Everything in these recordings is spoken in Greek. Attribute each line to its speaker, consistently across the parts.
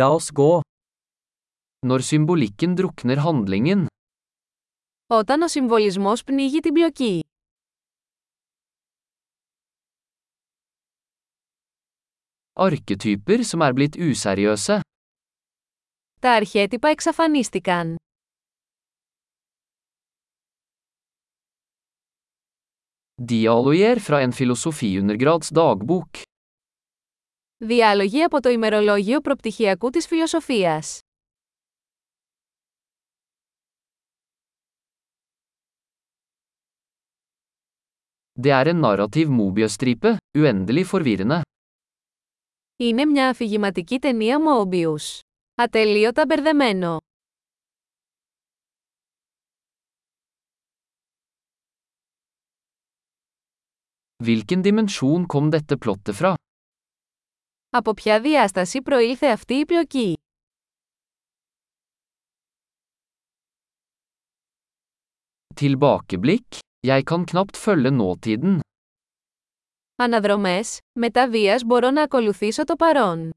Speaker 1: La oss gå. Når symbolikken drukner handlingen,
Speaker 2: Όταν ο συμβολισμός πνίγει την πλοκή,
Speaker 1: arketyper som er blitt useriøse,
Speaker 2: τα αρχέτυπα εξαφανίστηκαν.
Speaker 1: dialoger fra en filosofiundergrads dagbok,
Speaker 2: Διάλογοι από το ημερολόγιο προπτυχιακού της φιλοσοφίας.
Speaker 1: det er en narrativ mobiøstripe, uendelig forvirrende.
Speaker 2: Είναι μια αφηγηματική ταινία Mobius. Ατελείωτα μπερδεμένο.
Speaker 1: Hvilken dimensjon kom dette plottet fra?
Speaker 2: Από ποια διάσταση προήλθε αυτή η πλοκή.
Speaker 1: Tilbakeblikk, jeg kan knapt følge nåtiden.
Speaker 2: Αναδρομές, μετά βίας μπορώ να ακολουθήσω το παρόν.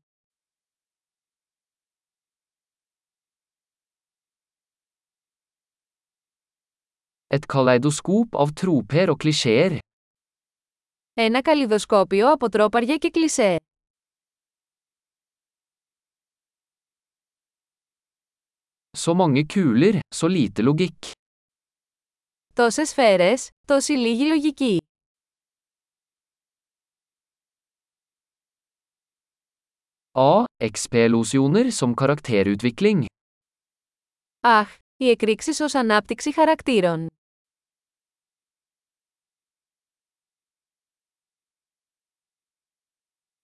Speaker 1: Et kaleidoskop av troper og klisjeer.
Speaker 2: Ένα καλλιδοσκόπιο από τρόπαρια και κλισέ.
Speaker 1: Så mange kuler, så lite logikk.
Speaker 2: Τόσες σφαίρες, τόση λίγη λογική.
Speaker 1: A. XP-losjoner som karakterutvikling.
Speaker 2: Αχ, οι εκρήξεις ως ανάπτυξη χαρακτήρων.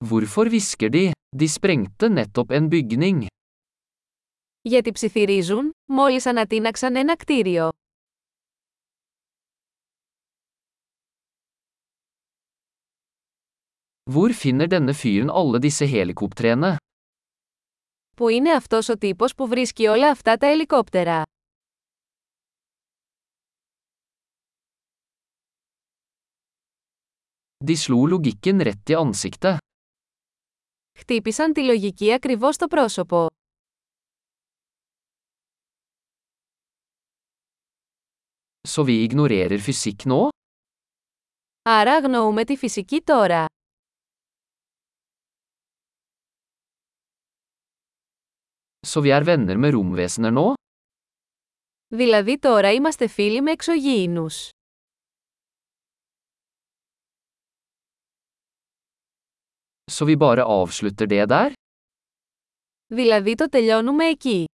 Speaker 1: Hvorfor hvisker de? De sprengte nettopp en bygning.
Speaker 2: Γιατί ψιθυρίζουν, μόλις ανατείναξαν ένα κτίριο.
Speaker 1: Hvor finner denne fyren alle disse helikoptrene?
Speaker 2: Που είναι αυτός ο τύπος που βρίσκει όλα αυτά τα ελικόπτερα.
Speaker 1: De slo logikken rett i ansiktet.
Speaker 2: Χτύπησαν τη λογική ακριβώς στο πρόσωπο.
Speaker 1: Så vi ignorerer fysikk nå?
Speaker 2: Άρα αγνοούμε τη φυσική τώρα.
Speaker 1: Så vi er venner med romvesener nå?
Speaker 2: Δηλαδή τώρα είμαστε φίλοι με εξωγήινους.
Speaker 1: Så vi bare avslutter det der?
Speaker 2: Δηλαδή το τελειώνουμε εκεί.